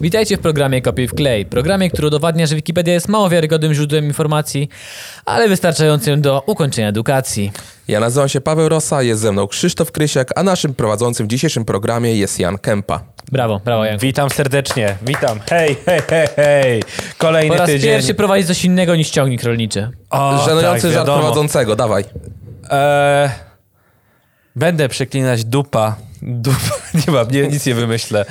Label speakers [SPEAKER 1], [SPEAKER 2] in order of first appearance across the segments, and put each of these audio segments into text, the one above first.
[SPEAKER 1] Witajcie w programie Kopiuj w klej, programie, który udowadnia, że Wikipedia jest mało wiarygodnym źródłem informacji, ale wystarczającym do ukończenia edukacji.
[SPEAKER 2] Ja nazywam się Paweł Rosa, jest ze mną Krzysztof Krysiak, a naszym prowadzącym w dzisiejszym programie jest Jan Kępa.
[SPEAKER 1] Brawo, brawo Janku.
[SPEAKER 3] Witam serdecznie, witam. Hej, hej, hej, hej. Kolejny
[SPEAKER 1] Po raz
[SPEAKER 3] tydzień.
[SPEAKER 1] pierwszy prowadzi coś innego niż ciągnik rolniczy.
[SPEAKER 3] O,
[SPEAKER 2] Żenujący
[SPEAKER 3] tak,
[SPEAKER 2] żart
[SPEAKER 3] wiadomo.
[SPEAKER 2] prowadzącego, dawaj.
[SPEAKER 3] E, będę przeklinać dupa. Dupa, nie mam, nie, nic nie wymyślę.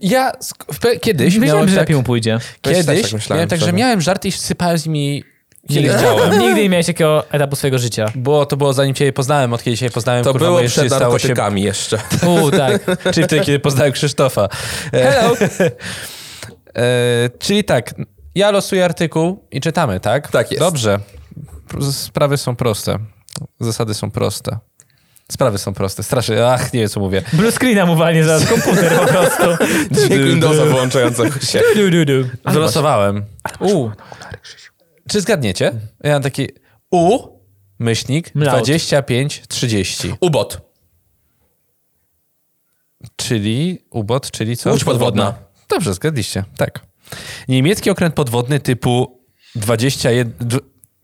[SPEAKER 3] Ja sk- w pe- kiedyś
[SPEAKER 1] Myślałem,
[SPEAKER 3] miałem
[SPEAKER 1] że
[SPEAKER 3] tak,
[SPEAKER 1] lepiej mu pójdzie.
[SPEAKER 2] Też tak
[SPEAKER 3] kiedyś
[SPEAKER 2] myślałem,
[SPEAKER 3] miałem tak, że
[SPEAKER 2] szczerze.
[SPEAKER 3] miałem żart i sypałem z nimi kiedy
[SPEAKER 1] Nigdy,
[SPEAKER 3] chciałem.
[SPEAKER 1] nigdy nie miałeś takiego etapu swojego życia.
[SPEAKER 3] Było, to było zanim cię je poznałem, od kiedy cię je poznałem.
[SPEAKER 2] To
[SPEAKER 3] kurwa,
[SPEAKER 2] było
[SPEAKER 3] moje
[SPEAKER 2] przed
[SPEAKER 3] życie stało się
[SPEAKER 2] narkotykami jeszcze.
[SPEAKER 1] U, tak.
[SPEAKER 3] Czyli wtedy, kiedy poznałem Krzysztofa.
[SPEAKER 2] Hello.
[SPEAKER 3] E, czyli tak, ja losuję artykuł i czytamy, tak?
[SPEAKER 2] Tak jest.
[SPEAKER 3] Dobrze. P- Sprawy są proste. Zasady są proste. Sprawy są proste. Strasznie. Ach, nie wiem, co mówię.
[SPEAKER 1] Blue screena mu walnie za komputer po prostu.
[SPEAKER 2] Dźwięk Windowsa wyłączającego się.
[SPEAKER 1] Du, du, du.
[SPEAKER 3] Wylosowałem.
[SPEAKER 1] U,
[SPEAKER 3] Czy zgadniecie? Ja mam taki U, myślnik,
[SPEAKER 1] Mlaut.
[SPEAKER 3] 25, 30.
[SPEAKER 2] Ubot.
[SPEAKER 3] Czyli ubot, czyli co?
[SPEAKER 2] Łódź podwodna.
[SPEAKER 3] Dobrze, zgadliście. Tak. Niemiecki okręt podwodny typu 21... dw-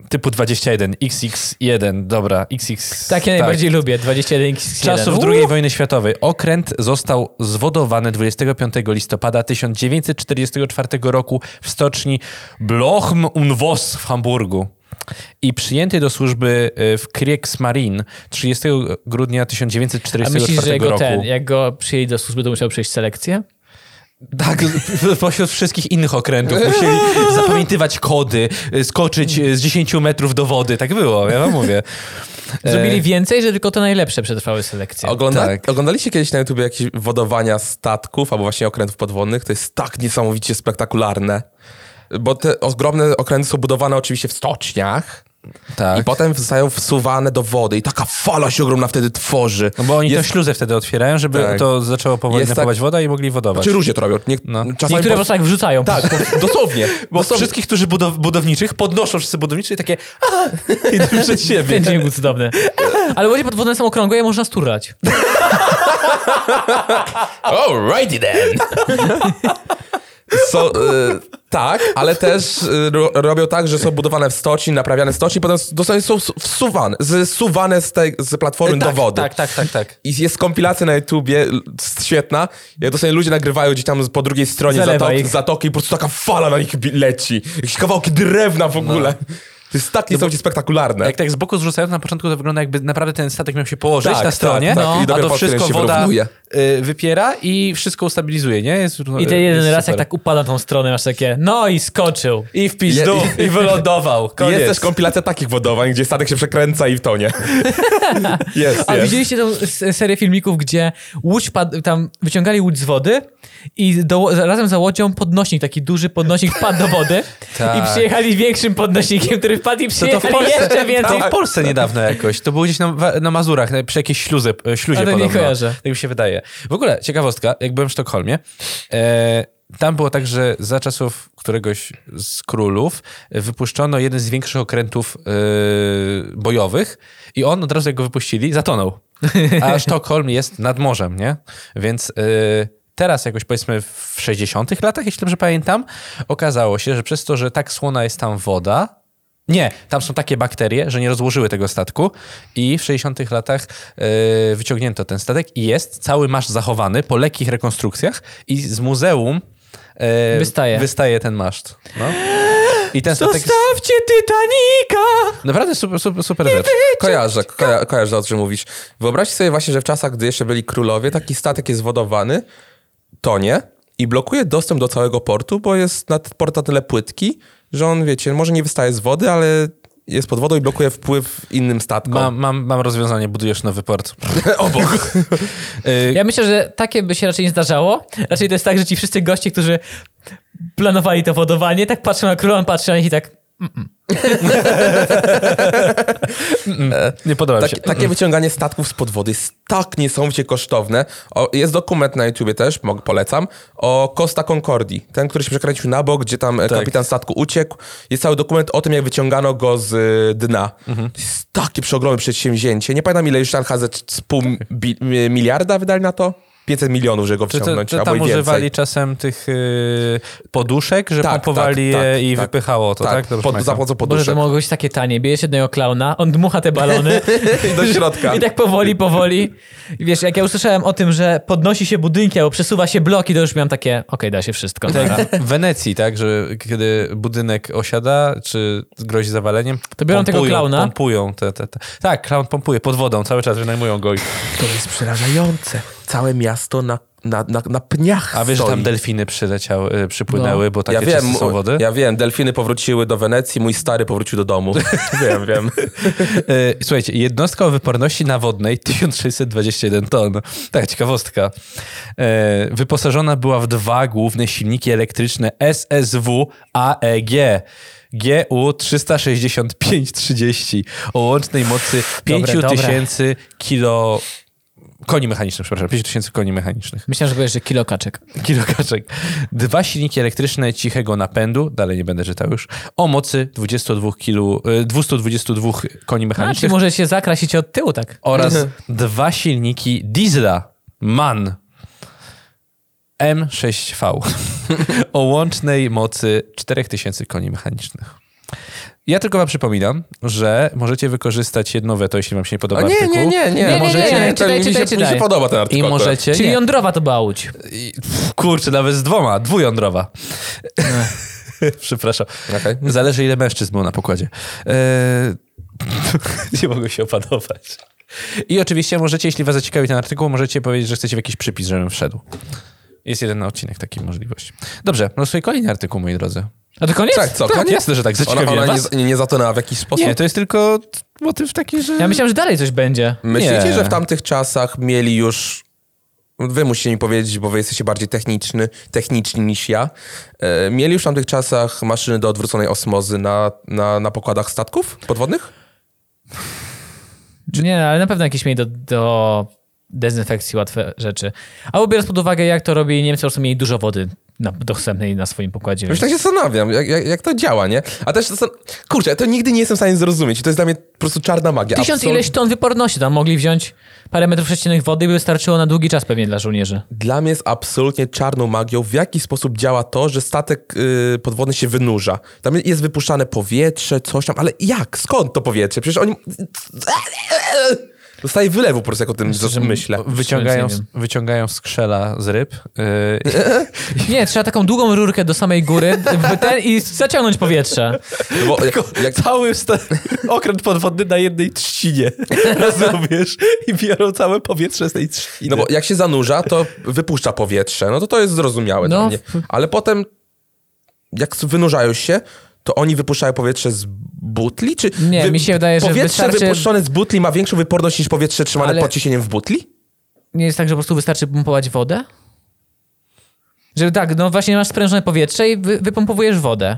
[SPEAKER 3] Typu 21, XX1, dobra, XX...
[SPEAKER 1] takie Tak, najbardziej lubię, 21 x
[SPEAKER 3] Czasów II wojny światowej. Okręt został zwodowany 25 listopada 1944 roku w stoczni Blochum und Voss w Hamburgu i przyjęty do służby e, w Kriegsmarine 30 grudnia
[SPEAKER 1] A
[SPEAKER 3] 1944
[SPEAKER 1] myślisz, że
[SPEAKER 3] roku.
[SPEAKER 1] go ten, jak go przyjęli do służby, to musiał przejść selekcję?
[SPEAKER 3] Tak, w- pośród wszystkich innych okrętów musieli zapamiętywać kody, e, skoczyć e, z 10 metrów do wody. Tak było, ja wam mówię. E,
[SPEAKER 1] Zrobili więcej, że tylko te najlepsze przetrwały selekcję.
[SPEAKER 2] Ogląda...
[SPEAKER 3] Tak.
[SPEAKER 2] Oglądaliście kiedyś na YouTube jakieś wodowania statków albo właśnie okrętów podwodnych? To jest tak niesamowicie spektakularne. Bo te ogromne okręty są budowane oczywiście w stoczniach.
[SPEAKER 3] tak.
[SPEAKER 2] I potem zostają wsuwane do wody i taka fala się ogromna wtedy tworzy.
[SPEAKER 3] No bo oni
[SPEAKER 2] jest,
[SPEAKER 3] tę śluzę wtedy otwierają, żeby
[SPEAKER 2] Tak.
[SPEAKER 3] to zaczęło powoli
[SPEAKER 2] Jest tak- Znaczy,
[SPEAKER 3] napływać woda i mogli wodować.
[SPEAKER 2] Czy różnie to robią. Nie,
[SPEAKER 3] No.
[SPEAKER 2] Czasami
[SPEAKER 1] Niektóre po prostu tak wrzucają.
[SPEAKER 2] Tak, to- dosłownie.
[SPEAKER 3] Bo
[SPEAKER 2] dosłownie.
[SPEAKER 3] wszystkich, którzy budow- budowniczych, podnoszą wszyscy budowniczy i takie "A!" idą przed siebie.
[SPEAKER 1] Ten dźwięk był cudowny. Ale łodzie podwodne są okrągłe, je można sturlać.
[SPEAKER 2] Alrighty then. So, y, tak, ale też y, ro, robią tak, że są budowane w stoczni, naprawiane w stoczni, potem dosłownie są su- wsuwane, zsuwane z, tej, z platformy
[SPEAKER 3] tak,
[SPEAKER 2] do wody.
[SPEAKER 3] tak, tak, tak, tak.
[SPEAKER 2] I jest kompilacja na YouTubie, l- świetna, jak dosłownie ludzie nagrywają gdzieś tam po drugiej stronie
[SPEAKER 1] Zalewa
[SPEAKER 2] zatok,
[SPEAKER 1] ich.
[SPEAKER 2] zatoki i po prostu taka fala na nich bi- leci. Jakieś kawałki drewna w ogóle. To jest tak niesamowicie spektakularne.
[SPEAKER 3] Jak tak z boku zrzucają, to na początku to wygląda jakby naprawdę ten statek miał się położyć
[SPEAKER 2] Tak,
[SPEAKER 3] na
[SPEAKER 2] tak,
[SPEAKER 3] stronie,
[SPEAKER 2] tak. I
[SPEAKER 3] a
[SPEAKER 2] dopiero
[SPEAKER 3] to
[SPEAKER 2] pod
[SPEAKER 3] wszystko
[SPEAKER 2] koniec się
[SPEAKER 3] woda
[SPEAKER 2] wyrównuje.
[SPEAKER 3] y, wypiera i wszystko ustabilizuje, nie? Jest,
[SPEAKER 1] I ten jeden
[SPEAKER 3] jest
[SPEAKER 1] raz, jak
[SPEAKER 3] super.
[SPEAKER 1] tak upada na tą stronę, masz takie, no i skoczył.
[SPEAKER 3] I w pizdu,
[SPEAKER 2] Je-
[SPEAKER 3] i wylądował.
[SPEAKER 2] I
[SPEAKER 3] Koniec.
[SPEAKER 2] Jest też kompilacja takich wodowań, gdzie statek się przekręca i wtonie. jest,
[SPEAKER 1] A
[SPEAKER 2] jest.
[SPEAKER 1] widzieliście tą s- serię filmików, gdzie łódź pad- tam wyciągali łódź z wody i do, razem za łodzią podnośnik, taki duży podnośnik wpadł do wody
[SPEAKER 3] Tak.
[SPEAKER 1] i przyjechali większym podnośnikiem, który wpadł i
[SPEAKER 3] To, to
[SPEAKER 1] przyjechali
[SPEAKER 3] w Polsce, Tak.
[SPEAKER 1] jeszcze więcej.
[SPEAKER 3] to w Polsce niedawno jakoś. To było gdzieś na, na Mazurach, na- przy jakiejś śluze, e, śluzie
[SPEAKER 1] Ale nie
[SPEAKER 3] podobno.
[SPEAKER 1] kojarzę.
[SPEAKER 3] Tak mi się wydaje. W ogóle ciekawostka, jak byłem w Sztokholmie, e, tam było tak, że za czasów któregoś z królów e, wypuszczono jeden z większych okrętów e, bojowych i on od razu jak go wypuścili, zatonął. A Sztokholm jest nad morzem, nie? Więc... E, Teraz jakoś powiedzmy w 60 latach, jeśli dobrze pamiętam, okazało się, że przez to, że tak słona jest tam woda, nie, tam są takie bakterie, że nie rozłożyły tego statku i w 60 latach e, wyciągnięto ten statek i jest cały masz zachowany po lekkich rekonstrukcjach i z muzeum e,
[SPEAKER 1] Wystaje.
[SPEAKER 3] wystaje ten maszt. No. I ten statek jest
[SPEAKER 1] Zostawcie Titanika!
[SPEAKER 3] naprawdę super, super, super rzecz.
[SPEAKER 2] Kojarzę, koja, kojarzę o czym mówisz. Wyobraźcie sobie właśnie, że w czasach, gdy jeszcze byli królowie, taki statek jest wodowany, tonie i blokuje dostęp do całego portu, bo jest nad port na tyle płytki, że on, wiecie, może nie wystaje z wody, ale jest pod wodą i blokuje wpływ innym statkom.
[SPEAKER 3] Mam, mam, mam rozwiązanie, budujesz nowy port.
[SPEAKER 2] Obok.
[SPEAKER 3] E,
[SPEAKER 1] Ja myślę, że takie by się raczej nie zdarzało. Raczej to jest tak, że ci wszyscy goście, którzy planowali to wodowanie, tak patrzą na króla, on patrzy na nich i tak...
[SPEAKER 3] nie podoba mi
[SPEAKER 2] Tak,
[SPEAKER 3] się. Mm.
[SPEAKER 2] takie wyciąganie statków spod wody jest tak niesamowicie kosztowne. O, jest dokument na YouTubie też, mog, polecam, o Costa Concordii. Ten, który się przekręcił na bok, gdzie tam e,
[SPEAKER 3] Tak.
[SPEAKER 2] kapitan statku uciekł. Jest cały dokument o tym, jak wyciągano go z y, dna.
[SPEAKER 3] Mhm.
[SPEAKER 2] To jest takie przeogromne przedsięwzięcie. Nie pamiętam, ile już Sharkhazet z pół bi- mi- miliarda wydali na to? 500 milionów, żeby go
[SPEAKER 3] Czy to,
[SPEAKER 2] wciągnąć,
[SPEAKER 3] to tam
[SPEAKER 2] albo i
[SPEAKER 3] używali
[SPEAKER 2] więcej.
[SPEAKER 3] czasem tych y, poduszek, że
[SPEAKER 2] Tak,
[SPEAKER 3] pompowali
[SPEAKER 2] tak,
[SPEAKER 3] je
[SPEAKER 2] tak,
[SPEAKER 3] i
[SPEAKER 2] tak.
[SPEAKER 3] wypychało to, tak?
[SPEAKER 2] Tak,
[SPEAKER 3] Dobrze
[SPEAKER 2] pod,
[SPEAKER 3] pamiętam.
[SPEAKER 2] za pomocą
[SPEAKER 1] Boże, to
[SPEAKER 2] poduszek.
[SPEAKER 1] mogło być takie tanie. Bierzesz jednego klauna, on dmucha te balony.
[SPEAKER 2] Do środka.
[SPEAKER 1] I tak powoli, powoli. I Wiesz, jak ja usłyszałem o tym, że podnosi się budynki albo przesuwa się bloki, to już miałem takie, okej, da się wszystko. Dobra.
[SPEAKER 3] Tak, w Wenecji, tak, że kiedy budynek osiada, czy grozi zawaleniem,
[SPEAKER 1] To biorą tego klauna.
[SPEAKER 3] Pompują te, te, te. Tak, klaun pompuje pod wodą, cały czas wynajmują go. i-
[SPEAKER 2] To jest przerażające. Całe miasto na, na, na, na pniach
[SPEAKER 3] A wiesz, że
[SPEAKER 2] stoi.
[SPEAKER 3] tam delfiny przyleciały, y,
[SPEAKER 1] No.
[SPEAKER 3] przypłynęły, bo takie
[SPEAKER 2] ja wiem,
[SPEAKER 3] czyste są wody.
[SPEAKER 2] ja wiem, delfiny powróciły do Wenecji, mój stary powrócił do domu. wiem, wiem.
[SPEAKER 3] Y, Słuchajcie, jednostka o wyporności nawodnej 1621 ton. Tak, ciekawostka. Y, Wyposażona była w dwa główne silniki elektryczne SSW AEG. GU 365-30 o łącznej mocy
[SPEAKER 1] Dobre, dobre.
[SPEAKER 3] 5000 kilo... Koni mechanicznych, przepraszam, 5000 koni mechanicznych.
[SPEAKER 1] Myślałem, że powiesz, że kilo kaczek.
[SPEAKER 2] Tak,
[SPEAKER 3] Kilokaczek. Dwa silniki elektryczne cichego napędu, dalej nie będę czytał już, o mocy 22 kilo, y, 222 koni
[SPEAKER 1] A,
[SPEAKER 3] mechanicznych
[SPEAKER 1] czyli może się zakrasić od tyłu tak.
[SPEAKER 3] oraz dwa silniki diesla MAN M6V o łącznej mocy 4000 koni mechanicznych. Ja tylko wam przypominam, że możecie wykorzystać jedno weto, jeśli wam się nie podoba
[SPEAKER 2] A nie,
[SPEAKER 3] artykuł.
[SPEAKER 2] nie, nie, nie.
[SPEAKER 1] nie, nie,
[SPEAKER 2] możecie,
[SPEAKER 1] nie,
[SPEAKER 2] to
[SPEAKER 1] czytaj,
[SPEAKER 2] mi,
[SPEAKER 1] czytaj,
[SPEAKER 2] się, mi
[SPEAKER 1] czytaj.
[SPEAKER 2] się podoba ten artykuł.
[SPEAKER 3] I
[SPEAKER 2] akurat.
[SPEAKER 3] możecie...
[SPEAKER 1] Czyli
[SPEAKER 3] nie.
[SPEAKER 1] jądrowa to była łódź.
[SPEAKER 3] I- pff, Kurczę, nawet z dwoma, dwujądrowa. Przepraszam.
[SPEAKER 2] Okej.
[SPEAKER 3] Zależy ile mężczyzn było na pokładzie. Eee, nie mogę się opanować. I oczywiście możecie, jeśli was zaciekawi ten artykuł, możecie powiedzieć, że chcecie w jakiś przypis, żebym wszedł. Jest jeden odcinek takiej możliwości. Dobrze, no losuję kolejny artykuł, moi drodzy.
[SPEAKER 1] A to koniec?
[SPEAKER 2] Tak, co,
[SPEAKER 3] tak,
[SPEAKER 2] koniec?
[SPEAKER 3] jasne, że tak,
[SPEAKER 2] Ona,
[SPEAKER 3] zaciekawiłem
[SPEAKER 2] ona nie, z-
[SPEAKER 3] was.
[SPEAKER 2] nie, nie zatonęła w jakiś sposób?
[SPEAKER 3] Nie, to jest tylko motyw taki, że...
[SPEAKER 1] Ja myślałem, że dalej coś będzie.
[SPEAKER 2] Myślicie,
[SPEAKER 3] nie.
[SPEAKER 2] że w tamtych czasach mieli już... Wy musicie mi powiedzieć, bo wy jesteście bardziej techniczny, techniczni niż ja. E, mieli już w tamtych czasach maszyny do odwróconej osmozy na, na, na pokładach statków podwodnych?
[SPEAKER 1] Nie, ale na pewno jakieś mieli do, do dezynfekcji łatwe rzeczy. Albo biorąc pod uwagę, jak to robi Niemcy, po prostu mieli dużo wody na, dostępnej na swoim pokładzie. Więc...
[SPEAKER 2] Już tak się zastanawiam, jak, jak, jak to działa, nie? A też, zastan- kurczę, ja to nigdy nie jestem w stanie zrozumieć. To jest dla mnie po prostu czarna magia.
[SPEAKER 1] Tysiąc
[SPEAKER 2] Absolut-
[SPEAKER 1] ileś ton wyporności tam mogli wziąć parę metrów sześciennych wody i by wystarczyło na długi czas pewnie dla żołnierzy.
[SPEAKER 2] Dla mnie jest absolutnie czarną magią, w jaki sposób działa to, że statek y, podwodny się wynurza. Tam jest wypuszczane powietrze, coś tam, ale jak? Skąd to powietrze? Przecież oni... Dostaje wylewu po prostu, jak o tym myślę.
[SPEAKER 3] No, Wyciągają,
[SPEAKER 1] Nic nie
[SPEAKER 3] wyciągają skrzela z ryb. Yy,
[SPEAKER 1] Nie, trzeba taką długą rurkę do samej góry w ten, i zaciągnąć powietrze.
[SPEAKER 2] No Bo, jak, jak,
[SPEAKER 3] Cały wsta- okręt podwodny na jednej trzcinie. Rozumiesz? I biorą całe powietrze z tej trzciny.
[SPEAKER 2] no bo jak się zanurza, to wypuszcza powietrze. No to to jest zrozumiałe
[SPEAKER 1] No.
[SPEAKER 2] dla mnie. Ale potem, jak wynurzają się, to oni wypuszczają powietrze z butli? Czy
[SPEAKER 1] Nie, mi się wydaje, że
[SPEAKER 2] powietrze
[SPEAKER 1] wystarczy-
[SPEAKER 2] wypuszczone z butli ma większą wyporność niż powietrze trzymane
[SPEAKER 1] Ale-
[SPEAKER 2] pod ciśnieniem w butli?
[SPEAKER 1] Nie jest tak, że po prostu wystarczy pompować wodę? Że tak, no właśnie masz sprężone powietrze i wy, wypompowujesz wodę.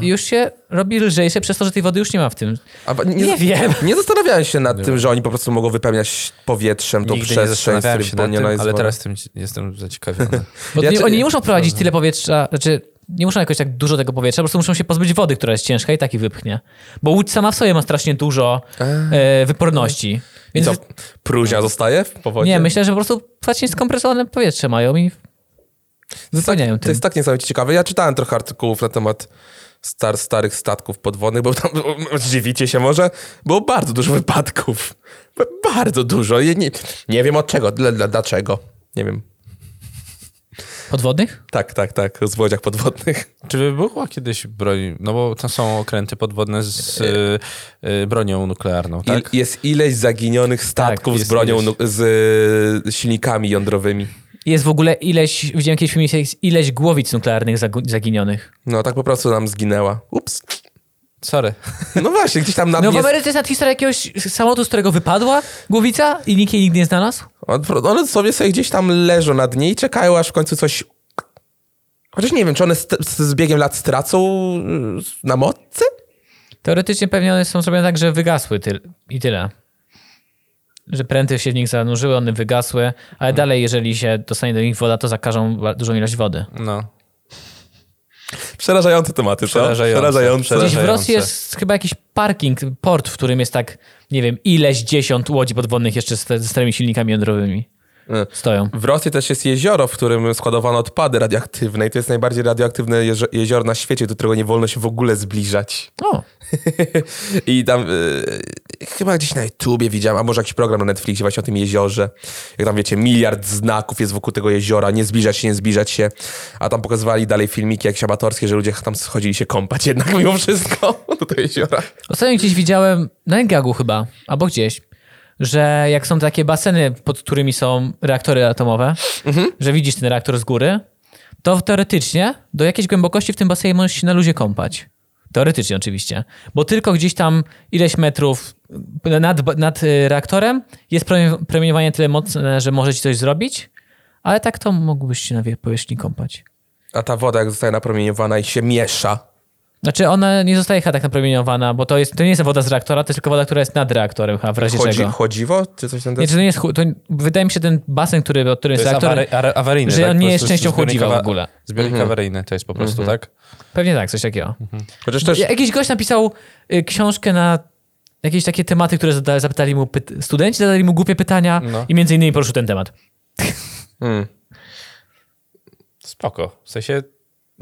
[SPEAKER 1] I już się robi lżejsze przez to, że tej wody już nie ma w tym.
[SPEAKER 2] A wa- nie,
[SPEAKER 1] Nie wiem.
[SPEAKER 2] Nie zastanawiałem się nad tym, że oni po prostu mogą wypełniać powietrzem tą
[SPEAKER 3] Nigdy nie
[SPEAKER 2] przestrzeń, z
[SPEAKER 3] zastanawiałem
[SPEAKER 2] której
[SPEAKER 3] się nad
[SPEAKER 2] wypełniona
[SPEAKER 3] tym,
[SPEAKER 2] jest
[SPEAKER 3] ale
[SPEAKER 2] woda.
[SPEAKER 3] teraz tym jestem zaciekawiony.
[SPEAKER 1] Bo
[SPEAKER 2] Ja
[SPEAKER 1] nie,
[SPEAKER 2] czy-
[SPEAKER 1] oni nie muszą prowadzić tyle powietrza, znaczy nie muszą jakoś tak dużo tego powietrza, po prostu muszą się pozbyć wody, która jest ciężka i tak ich wypchnie. Bo łódź sama w sobie ma strasznie dużo e, wyporności.
[SPEAKER 2] I
[SPEAKER 1] Więc
[SPEAKER 2] co, próżnia zostaje w powodzie?
[SPEAKER 1] nie, myślę, że po prostu właśnie skompresowane powietrze mają i zasłaniają
[SPEAKER 2] To
[SPEAKER 1] tym.
[SPEAKER 2] jest tak niesamowicie ciekawe. Ja czytałem trochę artykułów na temat star, starych statków podwodnych, bo tam, dziwicie się może, było bardzo dużo wypadków. Bardzo dużo. Ja nie, nie wiem od czego, dla, dla, dlaczego. Nie wiem.
[SPEAKER 1] Podwodnych?
[SPEAKER 2] Tak, tak, tak, z łodziach podwodnych.
[SPEAKER 3] Czy by była kiedyś broń? No bo to są okręty podwodne z y, y, bronią nuklearną, tak?
[SPEAKER 2] I, jest ileś zaginionych statków z
[SPEAKER 3] jest
[SPEAKER 2] bronią,
[SPEAKER 3] ileś.
[SPEAKER 2] nu- z y, silnikami jądrowymi.
[SPEAKER 1] Jest w ogóle ileś, widziałem kiedyś w filmie, jest ileś głowic nuklearnych zagu- zaginionych.
[SPEAKER 2] No tak po prostu nam zginęła. Ups.
[SPEAKER 3] Sorry.
[SPEAKER 2] No właśnie, gdzieś tam na
[SPEAKER 1] No w
[SPEAKER 2] mnie...
[SPEAKER 1] Ameryce jest nad historia jakiegoś samolotu, z którego wypadła głowica i nikt jej nigdy nie znalazł?
[SPEAKER 2] On- One sobie sobie gdzieś tam leżą na dnie i czekają, aż w końcu coś... Chociaż nie wiem, czy one z, z, z biegiem lat stracą y, na mocy?
[SPEAKER 1] Teoretycznie pewnie one są zrobione tak, że wygasły tyl- i tyle. Że pręty się w nich zanurzyły, one wygasły, ale dalej, jeżeli się dostanie do nich woda, to zakażą ba- dużą ilość wody.
[SPEAKER 3] No.
[SPEAKER 2] Przerażające tematy, co?
[SPEAKER 3] Przerażające,
[SPEAKER 2] Przerażające.
[SPEAKER 1] Gdzieś w
[SPEAKER 3] przerażające.
[SPEAKER 1] Rosji jest chyba jakiś parking, port, w którym jest tak, nie wiem, ileś dziesiąt łodzi podwodnych jeszcze z, te, ze starymi silnikami jądrowymi.
[SPEAKER 2] E,
[SPEAKER 1] stoją.
[SPEAKER 2] W Rosji też jest jezioro, w którym składowano odpady radioaktywne i to jest najbardziej radioaktywne jezio- jezioro na świecie, do którego nie wolno się w ogóle zbliżać.
[SPEAKER 1] O,
[SPEAKER 2] I tam e, chyba gdzieś na YouTubie widziałem, a może jakiś program na Netflixie właśnie o tym jeziorze. Jak tam wiecie, miliard znaków jest wokół tego jeziora, nie zbliżać się, nie zbliżać się. A tam pokazywali dalej filmiki jakieś amatorskie, że ludzie tam schodzili się kąpać jednak mimo wszystko do tego jeziora.
[SPEAKER 1] Ostatnio gdzieś widziałem, na Engagu chyba, albo gdzieś, że jak są takie baseny, pod którymi są reaktory atomowe, że widzisz ten reaktor z góry, to teoretycznie do jakiejś głębokości w tym basenie możesz się na luzie kąpać. Teoretycznie oczywiście. Bo tylko gdzieś tam ileś metrów nad, nad y, reaktorem jest promieni- promieniowanie tyle mocne, że może ci coś zrobić, ale tak to mógłbyś się na wie- powierzchni kąpać.
[SPEAKER 2] A ta woda jak zostaje napromieniowana i się miesza,
[SPEAKER 1] Znaczy ona nie zostaje chyba tak napromieniowana, bo to, jest, to nie jest woda z reaktora, to jest tylko woda, która jest nad reaktorem chyba, w razie
[SPEAKER 2] chodzi,
[SPEAKER 1] czego.
[SPEAKER 2] chodziwo czy coś tam
[SPEAKER 1] Nie, czy to nie jest, chu- to, wydaje mi się ten basen, który, od którym
[SPEAKER 3] To
[SPEAKER 1] jest
[SPEAKER 3] jest
[SPEAKER 1] reaktor,
[SPEAKER 3] awary, ar- awaryjny,
[SPEAKER 1] że
[SPEAKER 3] tak?
[SPEAKER 1] on
[SPEAKER 3] Po
[SPEAKER 1] nie
[SPEAKER 3] prostu
[SPEAKER 1] jest częścią
[SPEAKER 3] zbiornik
[SPEAKER 1] chłodziwa w
[SPEAKER 3] awa-
[SPEAKER 1] ogóle.
[SPEAKER 3] Zbiornik awaryjny to jest po prostu, tak?
[SPEAKER 1] Pewnie tak, coś takiego.
[SPEAKER 2] Chociaż też
[SPEAKER 1] Ja- Jakiś gość napisał y, książkę na jakieś takie tematy, które zada, zapytali mu pyt- studenci, zadali mu głupie pytania
[SPEAKER 3] No.
[SPEAKER 1] i między innymi poruszył ten temat.
[SPEAKER 2] mm,
[SPEAKER 3] Spoko. W sensie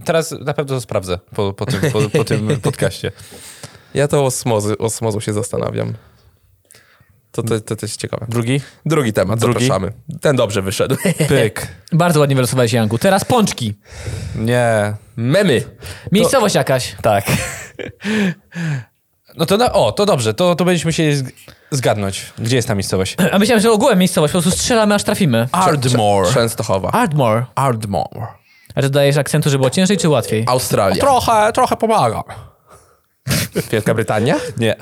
[SPEAKER 3] teraz na pewno to sprawdzę po, po, tym, po, po tym podcaście.
[SPEAKER 2] ja to osmozy, osmozą się zastanawiam. To, to, to też ciekawe.
[SPEAKER 3] Drugi?
[SPEAKER 2] Drugi temat,
[SPEAKER 3] Drugi?
[SPEAKER 2] zapraszamy. Ten dobrze wyszedł.
[SPEAKER 3] Pyk.
[SPEAKER 1] Bardzo ładnie wylosowałeś, Janku. Teraz pączki.
[SPEAKER 3] Nie.
[SPEAKER 2] Memy.
[SPEAKER 1] Miejscowość jakaś.
[SPEAKER 3] Tak. No to na, o, to dobrze, to, to będziemy się zg- zgadnąć. Gdzie jest ta miejscowość?
[SPEAKER 1] A myślałem, że ogółem miejscowość, po prostu strzelamy, aż trafimy.
[SPEAKER 3] Ardmore.
[SPEAKER 2] Częstochowa.
[SPEAKER 1] Ardmore.
[SPEAKER 3] Ardmore.
[SPEAKER 1] A czy dodajesz akcentu, żeby było ciężej czy łatwiej?
[SPEAKER 2] Australia.
[SPEAKER 3] Trochę, trochę pomaga.
[SPEAKER 2] Wielka Brytania?
[SPEAKER 3] Nie.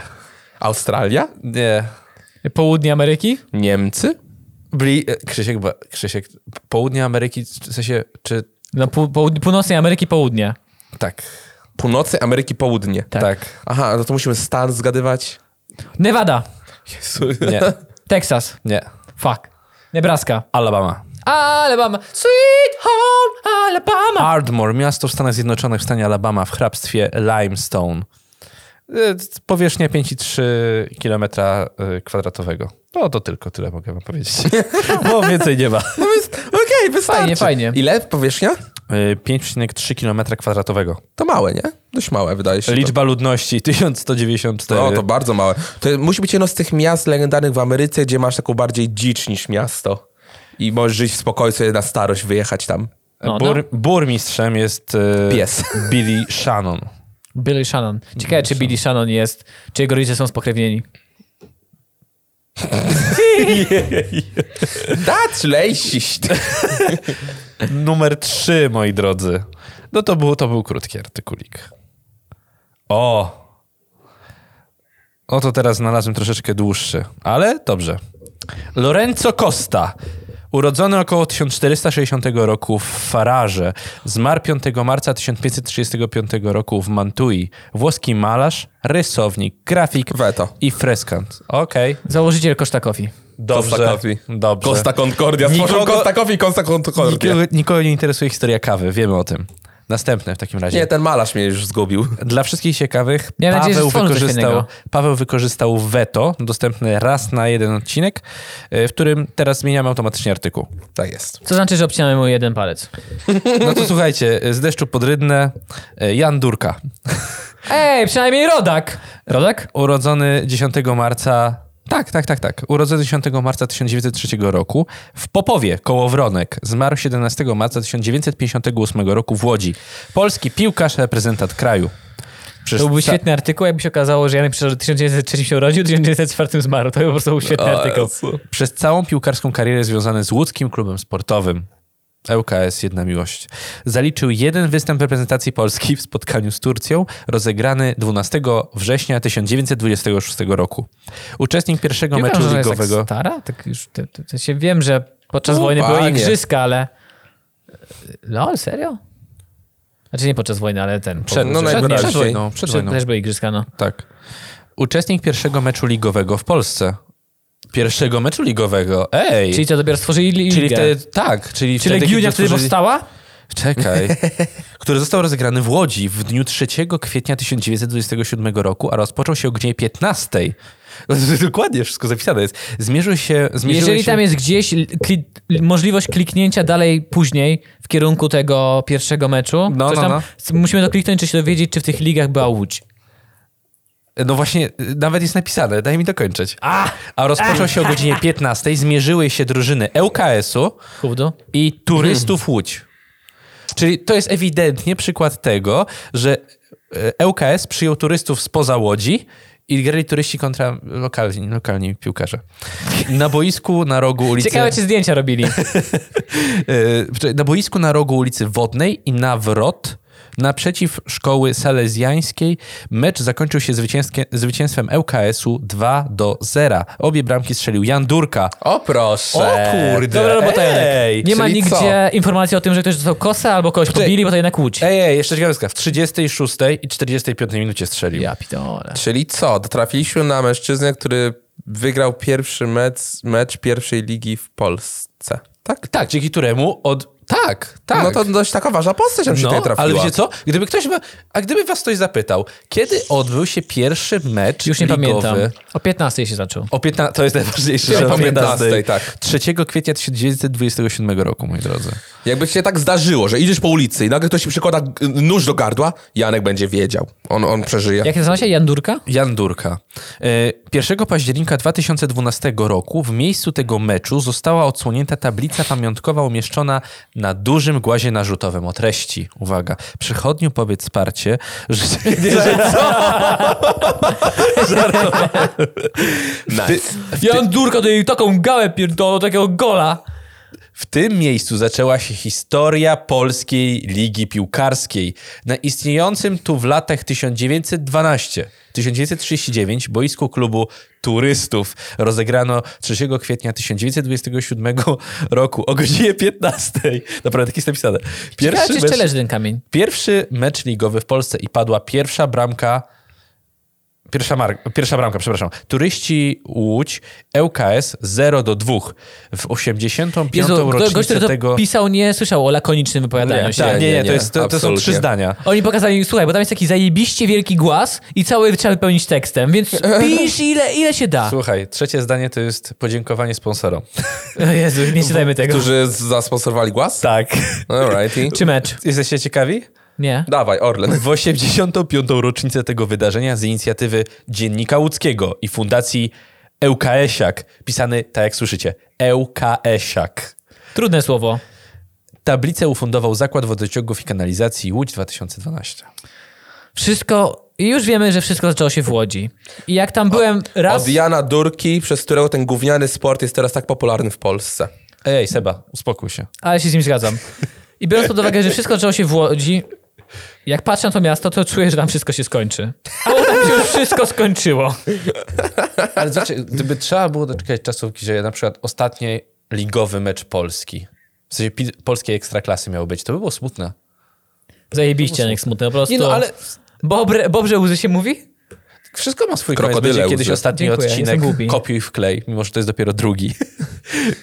[SPEAKER 2] Australia?
[SPEAKER 3] Nie.
[SPEAKER 1] Południe Ameryki?
[SPEAKER 2] Niemcy?
[SPEAKER 3] Bli, e, Krzysiek, bo- Krzysiek, południe Ameryki, w sensie, czy...
[SPEAKER 1] No, pół, pół, północnej Ameryki, południe.
[SPEAKER 3] Tak,
[SPEAKER 2] Północy Ameryki Południe.
[SPEAKER 1] Tak.
[SPEAKER 3] tak.
[SPEAKER 2] Aha, no to musimy stan zgadywać.
[SPEAKER 1] Nevada,
[SPEAKER 2] Jezu.
[SPEAKER 3] Nie,
[SPEAKER 1] Texas,
[SPEAKER 3] nie.
[SPEAKER 1] fuck. Nebraska,
[SPEAKER 3] Alabama.
[SPEAKER 1] Alabama, sweet home Alabama.
[SPEAKER 3] Ardmore, miasto w Stanach Zjednoczonych w stanie Alabama w hrabstwie Limestone. E, c- Powierzchnia 5,3 km e, kwadratowego. No to tylko tyle mogę wam powiedzieć. Bo więcej nie ma.
[SPEAKER 2] No więc, okej, wystarczy.
[SPEAKER 1] Fajnie, fajnie.
[SPEAKER 2] Ile powierzchnia?
[SPEAKER 3] E, 5,3 km kwadratowego.
[SPEAKER 2] To małe, nie? Dość małe, wydaje się.
[SPEAKER 3] Liczba ludności 1194.
[SPEAKER 2] No, to bardzo małe. To musi być jedno z tych miast legendarnych w Ameryce, gdzie masz taką bardziej dzicz niż miasto. I możesz żyć w spokoju sobie na starość, wyjechać tam.
[SPEAKER 1] No,
[SPEAKER 3] E, Bur, burmistrzem jest e,
[SPEAKER 2] Pies.
[SPEAKER 3] Billy Shannon.
[SPEAKER 1] Billy Shannon. Ciekawe, czy Billy Shannon jest, czy jego rodzice są spokrewnieni.
[SPEAKER 2] That's racist.
[SPEAKER 3] Numer 3, moi drodzy. No to był, to był krótki artykulik. O! Oto teraz znalazłem troszeczkę dłuższy, ale dobrze. Lorenzo Costa. Urodzony około 1460 roku w Fararze, zmarł 5 marca 1535 roku w Mantui. Włoski malarz, rysownik, grafik
[SPEAKER 2] Weto.
[SPEAKER 3] i freskant. Okej,
[SPEAKER 1] Założyciel Koszta Coffee.
[SPEAKER 3] dobrze.
[SPEAKER 2] Coffee.
[SPEAKER 3] Dobrze.
[SPEAKER 2] Costa Concordia. Stworzył
[SPEAKER 3] Nikogo-
[SPEAKER 2] Costa Coffee i Costa Concordia.
[SPEAKER 3] Nikogo, nikogo nie interesuje historia kawy, wiemy o tym. Następne w takim razie.
[SPEAKER 2] Nie, ten malarz mnie już zgubił.
[SPEAKER 3] Dla wszystkich ciekawych,
[SPEAKER 1] Miałem
[SPEAKER 3] Paweł,
[SPEAKER 1] nadzieję, że stworzy coś
[SPEAKER 3] wykorzystał,
[SPEAKER 1] fajnego.
[SPEAKER 3] Paweł wykorzystał weto, dostępny raz na jeden odcinek, e, w którym teraz zmieniamy automatycznie artykuł.
[SPEAKER 2] Tak jest.
[SPEAKER 1] Co znaczy, że obcinamy mu jeden palec.
[SPEAKER 3] No to słuchajcie, e, z deszczu pod Rydnę, e, Jan Durka.
[SPEAKER 1] Ej, przynajmniej rodak. Rodak?
[SPEAKER 3] Urodzony 10 marca. Tak, tak, tak, tak. Urodzony 10 marca 1903 roku w Popowie koło Wronek. Zmarł 17 marca 1958 roku w Łodzi. Polski piłkarz, reprezentant kraju. Przecież
[SPEAKER 1] To byłby
[SPEAKER 3] ca-
[SPEAKER 1] świetny artykuł, jakby się okazało, że Janek Przeżar w 1903 się urodził, w 1904 zmarł. To by po prostu był świetny artykuł.
[SPEAKER 3] Przez całą piłkarską karierę związany z łódzkim klubem sportowym. ŁKS Jedna Miłość. Zaliczył jeden występ reprezentacji Polski w spotkaniu z Turcją, rozegrany 12 września 1926 roku. Uczestnik pierwszego
[SPEAKER 1] Nie wiem,
[SPEAKER 3] meczu
[SPEAKER 1] że ona jest
[SPEAKER 3] ligowego. No,
[SPEAKER 1] Tak stara? Tak już, te, te, w sensie wiem, że podczas
[SPEAKER 2] U,
[SPEAKER 1] wojny były
[SPEAKER 2] panie.
[SPEAKER 1] igrzyska, ale... Lol, serio? Znaczy nie podczas wojny, ale ten... po-
[SPEAKER 3] Przed,
[SPEAKER 2] No,
[SPEAKER 3] przed, przed,
[SPEAKER 2] najwyraźniej.
[SPEAKER 3] wojną, przed wojną.
[SPEAKER 1] Też były igrzyska, no.
[SPEAKER 3] Tak. Uczestnik pierwszego meczu ligowego w Polsce. Pierwszego meczu ligowego. Ej!
[SPEAKER 1] Czyli to dopiero stworzyli ligę.
[SPEAKER 3] czyli wtedy, tak, czyli,
[SPEAKER 1] Czy
[SPEAKER 3] wtedy,
[SPEAKER 1] Legiunia
[SPEAKER 3] kiedy
[SPEAKER 1] wtedy
[SPEAKER 3] stworzyli-
[SPEAKER 1] powstała?
[SPEAKER 3] Czekaj. Który został rozegrany w Łodzi w dniu 3 kwietnia 1927 roku, a rozpoczął się o godzinie 15. Dokładnie wszystko zapisane jest. Zmierzył się... Zmierzyły
[SPEAKER 1] Jeżeli
[SPEAKER 3] się...
[SPEAKER 1] tam jest gdzieś l- kli- l- możliwość kliknięcia dalej później w kierunku tego pierwszego meczu,
[SPEAKER 3] No,
[SPEAKER 1] coś
[SPEAKER 3] no,
[SPEAKER 1] tam,
[SPEAKER 3] no.
[SPEAKER 1] c- musimy to kliknąć, czy się dowiedzieć, czy w tych ligach była Łódź.
[SPEAKER 3] No właśnie, y, nawet jest napisane, daj mi dokończyć. A, a rozpoczął się o godzinie 15. Zmierzyły się drużyny E ŁKS-u
[SPEAKER 1] Kurde.
[SPEAKER 3] i turystów Łódź. Czyli to jest ewidentnie przykład tego, że e, ŁKS przyjął turystów spoza Łodzi i grali turyści kontra lokalni, lokalni piłkarze. Na boisku na rogu ulicy...
[SPEAKER 1] Ciekawe, czy zdjęcia robili.
[SPEAKER 3] E, poczekaj, Na boisku na rogu ulicy Wodnej i na wrot naprzeciw szkoły salezjańskiej mecz zakończył się zwycięskie- zwycięstwem ŁKS-u 2 do 0. Obie bramki strzelił Jan Durka.
[SPEAKER 2] O proszę.
[SPEAKER 1] Dobra robota,
[SPEAKER 3] ej,
[SPEAKER 1] Janek. Nie ma
[SPEAKER 2] czyli
[SPEAKER 1] nigdzie informacji o tym, że ktoś dostał kosa albo kogoś pobili, bo to jednak Łódź.
[SPEAKER 3] Ej, ej, jeszcze ciekawostka. W 36 i 45 minucie strzelił.
[SPEAKER 1] Ja pitole.
[SPEAKER 2] Czyli co? Trafiliśmy na mężczyznę, który wygrał pierwszy mecz, mecz pierwszej ligi w Polsce. Tak?
[SPEAKER 3] Tak, dzięki któremu od... Tak, tak.
[SPEAKER 2] No to dość taka ważna postać, nam się tutaj
[SPEAKER 3] no,
[SPEAKER 2] trafiła.
[SPEAKER 3] ale wiecie co? Gdyby ktoś... wa- A gdyby was ktoś zapytał, kiedy odbył się pierwszy mecz
[SPEAKER 1] Już nie
[SPEAKER 3] ligowy?
[SPEAKER 1] pamiętam. O 15 się zaczął.
[SPEAKER 3] O 15, to jest najważniejsze.
[SPEAKER 2] Czyli
[SPEAKER 3] że
[SPEAKER 2] o
[SPEAKER 3] o
[SPEAKER 2] 15,
[SPEAKER 3] 15,
[SPEAKER 2] tak.
[SPEAKER 3] 3 kwietnia 1927 roku, moi drodzy.
[SPEAKER 2] Jakby ci się tak zdarzyło, że idziesz po ulicy i nagle ktoś ci przykłada g- nóż do gardła, Janek będzie wiedział. On, on przeżyje.
[SPEAKER 1] Jak nazywa się? Jandurka?
[SPEAKER 3] Jan Durka. E, 1 października 2012 roku w miejscu tego meczu została odsłonięta tablica pamiątkowa umieszczona na dużym głazie narzutowym o treści. Uwaga. Przychodniu powiedz wsparcie, że... Nie, że co?
[SPEAKER 2] Nice.
[SPEAKER 1] Jandurka to jej taką gałę pierdolą, takiego gola.
[SPEAKER 3] W tym miejscu zaczęła się historia polskiej ligi piłkarskiej. Na istniejącym tu w latach 1912-1939 boisku klubu turystów rozegrano 3 kwietnia 1927 roku o godzinie 15. Naprawdę, tak jest napisane.
[SPEAKER 1] Ciekawe, czy
[SPEAKER 3] Pierwszy
[SPEAKER 1] jeszcze
[SPEAKER 3] mecz,
[SPEAKER 1] leży ten kamień.
[SPEAKER 3] pierwszy mecz ligowy w Polsce i padła pierwsza bramka Pierwsza, mar- pierwsza bramka, przepraszam. Turyści Łódź, ŁKS 0 do 2 w 85.
[SPEAKER 1] Jezu, go- gość,
[SPEAKER 3] rocznicę
[SPEAKER 1] który to
[SPEAKER 3] tego...
[SPEAKER 1] pisał, nie słyszał o lakonicznym wypowiadaniu
[SPEAKER 3] nie,
[SPEAKER 1] się.
[SPEAKER 3] tak, nie, nie, to,
[SPEAKER 2] nie,
[SPEAKER 3] jest, to, to są
[SPEAKER 2] absolutnie.
[SPEAKER 3] trzy zdania.
[SPEAKER 1] Oni pokazali, słuchaj, bo tam jest taki zajebiście wielki głaz i cały trzeba wypełnić tekstem, więc pisz ile, ile się da.
[SPEAKER 3] Słuchaj, trzecie zdanie to jest podziękowanie sponsorom.
[SPEAKER 1] O Jezu, nie czytajmy tego.
[SPEAKER 2] Którzy z- zasponsorowali głaz?
[SPEAKER 3] Tak.
[SPEAKER 2] Alrighty.
[SPEAKER 1] Czy mecz?
[SPEAKER 3] Jesteście ciekawi?
[SPEAKER 1] Nie.
[SPEAKER 2] Dawaj, Orlen.
[SPEAKER 3] W 85. rocznicę tego wydarzenia z inicjatywy Dziennika Łódzkiego i Fundacji ŁKS-iak, pisany, tak jak słyszycie, ŁKS-iak.
[SPEAKER 1] Trudne słowo.
[SPEAKER 3] Tablicę ufundował Zakład Wodociągów i Kanalizacji Łódź 2012.
[SPEAKER 1] Wszystko, i już wiemy, że wszystko zaczęło się w Łodzi. I jak tam byłem raz...
[SPEAKER 2] Od Jana Durki, przez którego ten gówniany sport jest teraz tak popularny w Polsce.
[SPEAKER 3] Ej, Seba, uspokój się.
[SPEAKER 1] Ale się z nim zgadzam. I biorąc pod uwagę, że wszystko zaczęło się w Łodzi, jak patrzę na to miasto, to czuję, że tam wszystko się skończy. Ale tam się już wszystko skończyło.
[SPEAKER 3] Ale znaczy, gdyby trzeba było doczekać czasu, że na przykład ostatni ligowy mecz Polski, w sensie pi- polskiej ekstraklasy miał być, to by było smutne.
[SPEAKER 1] Zajebiście, Janek, smutne po prostu.
[SPEAKER 3] Nie no, ale-
[SPEAKER 1] Bobre, bobrze łzy się mówi?
[SPEAKER 3] Wszystko ma swój koniec.
[SPEAKER 2] Krokodyle
[SPEAKER 3] Będzie
[SPEAKER 2] łzy.
[SPEAKER 3] kiedyś ostatni
[SPEAKER 1] Dziękuję,
[SPEAKER 3] odcinek
[SPEAKER 1] jestem głupi.
[SPEAKER 3] kopiuj w klej, mimo że to jest dopiero drugi.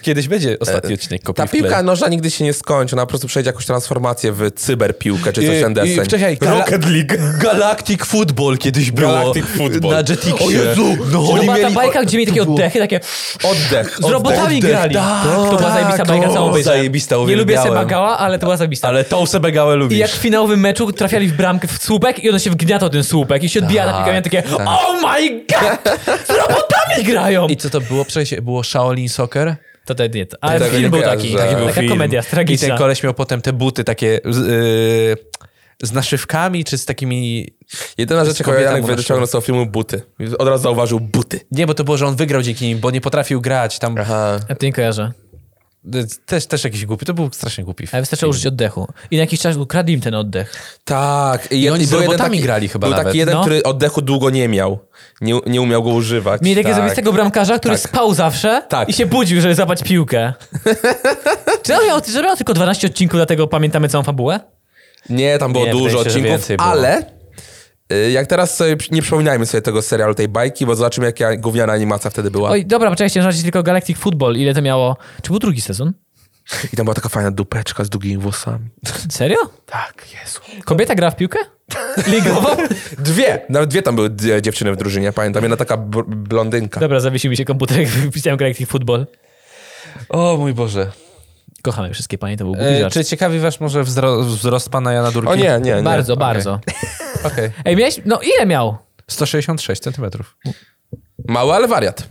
[SPEAKER 3] kiedyś będzie ostatni odcinek kopiuj
[SPEAKER 2] Ta
[SPEAKER 3] w klej.
[SPEAKER 2] piłka nożna nigdy się nie skończy, ona po prostu przejdzie jakąś transformację w cyberpiłkę czy coś ten deseń.
[SPEAKER 3] wcześniej Gala- Galactic Football kiedyś było.
[SPEAKER 2] Galactic Football.
[SPEAKER 3] Na Jetixie.
[SPEAKER 2] O Jezu!
[SPEAKER 3] No,
[SPEAKER 1] To
[SPEAKER 3] oni
[SPEAKER 1] była ta
[SPEAKER 3] mieli...
[SPEAKER 1] bajka, gdzie mieli takie oddechy, takie...
[SPEAKER 2] Oddech.
[SPEAKER 1] Z robotami grali.
[SPEAKER 3] tak,
[SPEAKER 1] to była zajebista
[SPEAKER 3] tak,
[SPEAKER 1] bajka,
[SPEAKER 3] o,
[SPEAKER 1] całą obejrzałem.
[SPEAKER 3] zajebista,
[SPEAKER 1] Nie lubię
[SPEAKER 3] uwielbiałem.
[SPEAKER 1] Seba Gała, ale to była zajebista.
[SPEAKER 3] Ale tą Sebę Gałę
[SPEAKER 1] I
[SPEAKER 3] lubisz.
[SPEAKER 1] jak w finałowym meczu trafiali w bramkę w słupek i ono się wgniata o ten słupek i się odbija na piłkę, takie Oh my god! Z robotami grają!
[SPEAKER 3] I co to było? Przecież było Shaolin Soccer?
[SPEAKER 1] To ten nie, ale
[SPEAKER 2] Tego nie
[SPEAKER 1] film był
[SPEAKER 2] kojarzę.
[SPEAKER 1] taki,
[SPEAKER 2] Taki
[SPEAKER 1] Tak, taka komedia
[SPEAKER 3] I ten
[SPEAKER 1] tragiczna.
[SPEAKER 3] koleś miał potem te buty takie z, yy, z naszywkami, czy z takimi...
[SPEAKER 2] Jedyna
[SPEAKER 3] Z
[SPEAKER 2] rzecz, jaką
[SPEAKER 3] kobietą
[SPEAKER 2] Janek
[SPEAKER 3] naszą.
[SPEAKER 2] wyciągnął z tego filmu, buty. Od razu zauważył buty.
[SPEAKER 3] Nie, bo to było, że on wygrał dzięki nim, bo nie potrafił grać. Tam
[SPEAKER 2] Aha.
[SPEAKER 1] Ja to nie kojarzę.
[SPEAKER 3] y, też, też jakiś głupi. To był strasznie głupi.
[SPEAKER 1] Ale wystarczyło użyć oddechu. I na jakiś czas ukradli im ten oddech.
[SPEAKER 2] Tak. I,
[SPEAKER 3] oni
[SPEAKER 2] i
[SPEAKER 3] z
[SPEAKER 2] był jeden
[SPEAKER 3] robotami grali chyba
[SPEAKER 2] Był
[SPEAKER 3] nawet,
[SPEAKER 2] taki jeden,
[SPEAKER 1] no.
[SPEAKER 2] który oddechu długo nie miał. Nie, nie umiał go używać.
[SPEAKER 1] Mieli takiego
[SPEAKER 2] tak.
[SPEAKER 1] zabitego bramkarza, który spał zawsze
[SPEAKER 2] Tak.
[SPEAKER 1] i się budził, żeby zapać piłkę. czy, on miał, czy miał tylko 12 odcinków, dlatego pamiętamy całą fabułę?
[SPEAKER 2] Nie, tam było
[SPEAKER 3] Nie,
[SPEAKER 2] dużo
[SPEAKER 3] wydaje się, że
[SPEAKER 2] odcinków,
[SPEAKER 3] więcej było.
[SPEAKER 2] ale y, jak teraz sobie, nie przypominajmy sobie tego serialu, tej bajki, bo zobaczymy, jaka gówniana animacja wtedy była.
[SPEAKER 1] Oj, dobra, poczekajcie, na razie tylko Galactic Football. Ile to miało? Czy był drugi sezon?
[SPEAKER 2] I tam była taka fajna dupeczka z długimi włosami.
[SPEAKER 1] Serio?
[SPEAKER 2] Tak, Jezu.
[SPEAKER 1] Kobieta gra w piłkę? Ligową?
[SPEAKER 2] Dwie! Nawet dwie tam były d- e, dziewczyny w drużynie, pamiętam. Jedna taka br- blondynka.
[SPEAKER 1] Dobra, zawiesił mi się komputer, jak wpisałem Galactic Football.
[SPEAKER 3] O mój Boże.
[SPEAKER 1] Kochamy wszystkie panie, to był głupi
[SPEAKER 3] E,
[SPEAKER 1] żart.
[SPEAKER 3] czy ciekawi was może wzrost, wzrost pana Jana Durki?
[SPEAKER 2] O nie, nie, nie.
[SPEAKER 1] Bardzo,
[SPEAKER 3] Okej.
[SPEAKER 1] bardzo.
[SPEAKER 3] Okej.
[SPEAKER 1] Ej, miałeś... No ile miał?
[SPEAKER 3] 166 centymetrów.
[SPEAKER 2] Mały, ale wariat.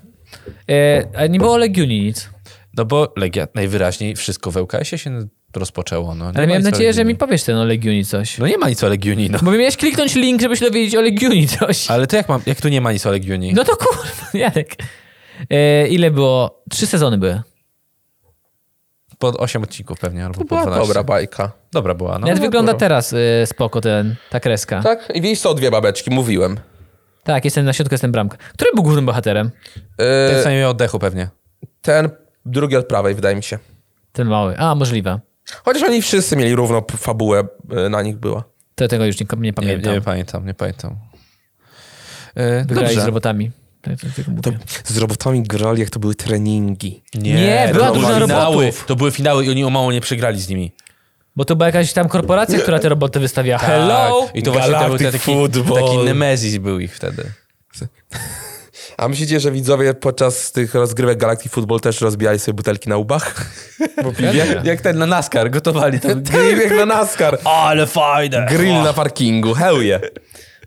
[SPEAKER 1] E, a nie było Legiuni nic.
[SPEAKER 3] No bo Legia najwyraźniej wszystko w ŁKS-ie się rozpoczęło. No. Nie
[SPEAKER 1] Ale
[SPEAKER 3] ma
[SPEAKER 1] miałem
[SPEAKER 3] nic o
[SPEAKER 1] nadzieję, że mi
[SPEAKER 3] Legiuni.
[SPEAKER 1] powiesz ten o Legiuni coś.
[SPEAKER 3] No nie ma nic o Legiuni, no.
[SPEAKER 1] Bo mi miałeś kliknąć link, żeby się dowiedzieć o Legiuni coś.
[SPEAKER 3] Ale to jak mam, jak tu nie ma nic o Legiuni?
[SPEAKER 1] No to kurwa, Janek. E, ile było? Trzy sezony były.
[SPEAKER 3] Po 8 odcinków pewnie, albo
[SPEAKER 2] To
[SPEAKER 3] po
[SPEAKER 2] była
[SPEAKER 3] 12.
[SPEAKER 2] dobra bajka.
[SPEAKER 3] Dobra była, no.
[SPEAKER 1] Nawet wygląda
[SPEAKER 2] dobra.
[SPEAKER 1] teraz y, spoko ten, ta kreska. Tak.
[SPEAKER 2] Tak? I widzisz, są dwie babeczki, mówiłem.
[SPEAKER 1] jestem na środku, jestem bramka. Który był głównym bohaterem?
[SPEAKER 3] Ten
[SPEAKER 2] Yy,
[SPEAKER 3] co nie miał oddechu pewnie.
[SPEAKER 2] ten drugi od prawej, wydaje mi się.
[SPEAKER 1] Ten mały. A, możliwe.
[SPEAKER 2] Chociaż oni wszyscy mieli równą p- fabułę, e, na nich była.
[SPEAKER 1] To tego już nie, nie
[SPEAKER 3] Nie,
[SPEAKER 1] pamiętam.
[SPEAKER 3] nie pamiętam, nie pamiętam. E,
[SPEAKER 1] Wygrali z
[SPEAKER 3] dobrze.
[SPEAKER 1] robotami. To ja tylko mówię.
[SPEAKER 2] Z robotami grali, jak to były treningi.
[SPEAKER 1] Nie, była
[SPEAKER 3] to
[SPEAKER 1] drużyna
[SPEAKER 3] były finały,
[SPEAKER 1] robotów.
[SPEAKER 3] To były finały i oni o mało nie przegrali z nimi.
[SPEAKER 1] Bo to była jakaś tam korporacja, która te roboty wystawiała. Hello!
[SPEAKER 3] Tak. I to właśnie to był ten
[SPEAKER 2] Galactic
[SPEAKER 3] taki,
[SPEAKER 2] Football.
[SPEAKER 3] taki nemezis był ich wtedy.
[SPEAKER 2] A myślicie, że widzowie podczas tych rozgrywek Galactic Football też rozbijali sobie butelki na łbach? Po piwie?
[SPEAKER 3] Jak, jak ten na NASCAR gotowali to.
[SPEAKER 2] Grill jak na NASCAR.
[SPEAKER 3] Ale fajne!
[SPEAKER 2] Grill na parkingu, hell yeah.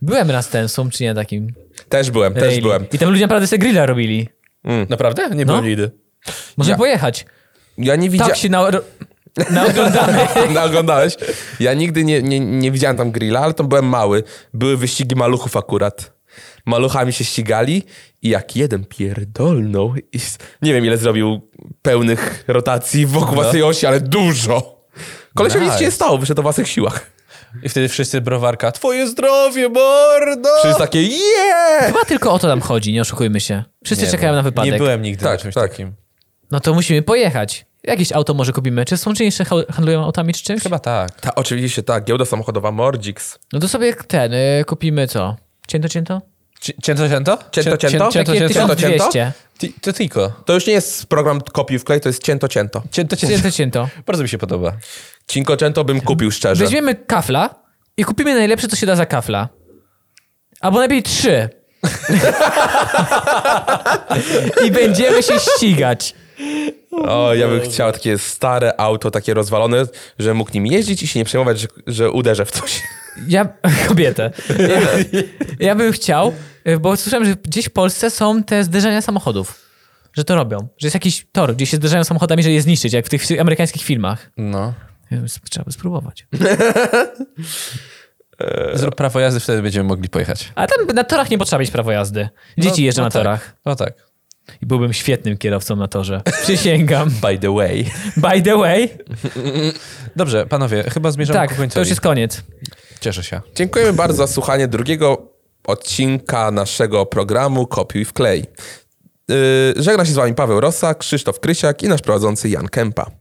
[SPEAKER 1] Byłem raz ten sum, czy nie takim.
[SPEAKER 2] Też byłem, też
[SPEAKER 1] rally.
[SPEAKER 2] byłem. Mm.
[SPEAKER 1] I tam ludzie naprawdę sobie grilla robili.
[SPEAKER 3] Naprawdę? Nie
[SPEAKER 1] No.
[SPEAKER 3] było nigdy.
[SPEAKER 1] Może
[SPEAKER 2] Ja-
[SPEAKER 1] pojechać.
[SPEAKER 2] Ja nie
[SPEAKER 1] Tak
[SPEAKER 2] widziałem...
[SPEAKER 1] się na... naoglądamy.
[SPEAKER 2] Naoglądałeś? Ja nigdy nie, nie, nie widziałem tam grilla, ale tam byłem mały. Były wyścigi maluchów akurat. Maluchami się ścigali i jak jeden pierdolnął i s- nie wiem ile zrobił pełnych rotacji wokół własnej osi, ale dużo. Kolesiowi nic
[SPEAKER 3] No. Nice.
[SPEAKER 2] się nie stało, wyszedł o własnych siłach.
[SPEAKER 3] I wtedy wszyscy browarka. Twoje zdrowie, mordo!
[SPEAKER 2] Wszyscy takie yeah!
[SPEAKER 1] Chyba tylko o to tam chodzi, nie oszukujmy się. Wszyscy
[SPEAKER 3] Nie,
[SPEAKER 1] czekają
[SPEAKER 3] no,
[SPEAKER 1] na wypadek.
[SPEAKER 3] Nie byłem nigdy
[SPEAKER 2] Tak,
[SPEAKER 3] na czymś
[SPEAKER 2] tak.
[SPEAKER 3] takim.
[SPEAKER 1] No to musimy pojechać. Jakieś auto może kupimy. Czy są czynniejsze handlują autami czy czymś?
[SPEAKER 3] Chyba tak.
[SPEAKER 2] Ta, oczywiście tak, giełda samochodowa Mordix.
[SPEAKER 1] No to sobie ten, y, kupimy co? Cięto, cięto?
[SPEAKER 3] Ci- Cięto, cięto?
[SPEAKER 2] Cięto,
[SPEAKER 3] Cię-
[SPEAKER 2] cięto?
[SPEAKER 3] Cięto,
[SPEAKER 1] Takie
[SPEAKER 2] cięto,
[SPEAKER 3] cięto?
[SPEAKER 1] 1200.
[SPEAKER 3] Ti- To tylko.
[SPEAKER 2] To już nie jest program kopiuj wklej, to jest cięto cięto.
[SPEAKER 3] Cięto, cięto.
[SPEAKER 1] Cięto, cięto.
[SPEAKER 3] Bardzo mi się podoba.
[SPEAKER 2] Cinko cięto bym kupił szczerze.
[SPEAKER 1] Weźmiemy kafla i kupimy najlepsze, co się da za kafla. Albo najlepiej trzy. I będziemy się ścigać.
[SPEAKER 2] O, ja bym chciał takie stare auto, takie rozwalone, że mógł nim jeździć i się nie przejmować, że, że uderzę w coś.
[SPEAKER 1] Ja, kobietę. Ja, ja bym chciał, y, bo słyszałem, że gdzieś w Polsce są te zderzenia samochodów. Że to robią. Że jest jakiś tor, gdzie się zderzają samochodami, żeby je zniszczyć, jak w tych wszy- amerykańskich filmach.
[SPEAKER 3] No.
[SPEAKER 1] Ja bym- Trzeba by spróbować.
[SPEAKER 3] E, Zrób prawo jazdy, wtedy będziemy mogli pojechać.
[SPEAKER 1] A tam na torach nie potrzeba mieć prawo jazdy. Dzieci jeżdżą na
[SPEAKER 3] tak.
[SPEAKER 1] torach.
[SPEAKER 3] No tak.
[SPEAKER 1] I byłbym świetnym kierowcą na torze. Przysięgam.
[SPEAKER 3] By the way.
[SPEAKER 1] By the way.
[SPEAKER 3] Dobrze, panowie, chyba zmierzamy
[SPEAKER 1] Tak,
[SPEAKER 3] ku końcowi.
[SPEAKER 1] to już jest koniec.
[SPEAKER 3] Cieszę się.
[SPEAKER 2] Dziękujemy bardzo za słuchanie drugiego odcinka naszego programu Kopiuj Y, w klej. Yy, żegna się z wami Paweł Rosa, Krzysztof Krysiak i nasz prowadzący Jan Kępa.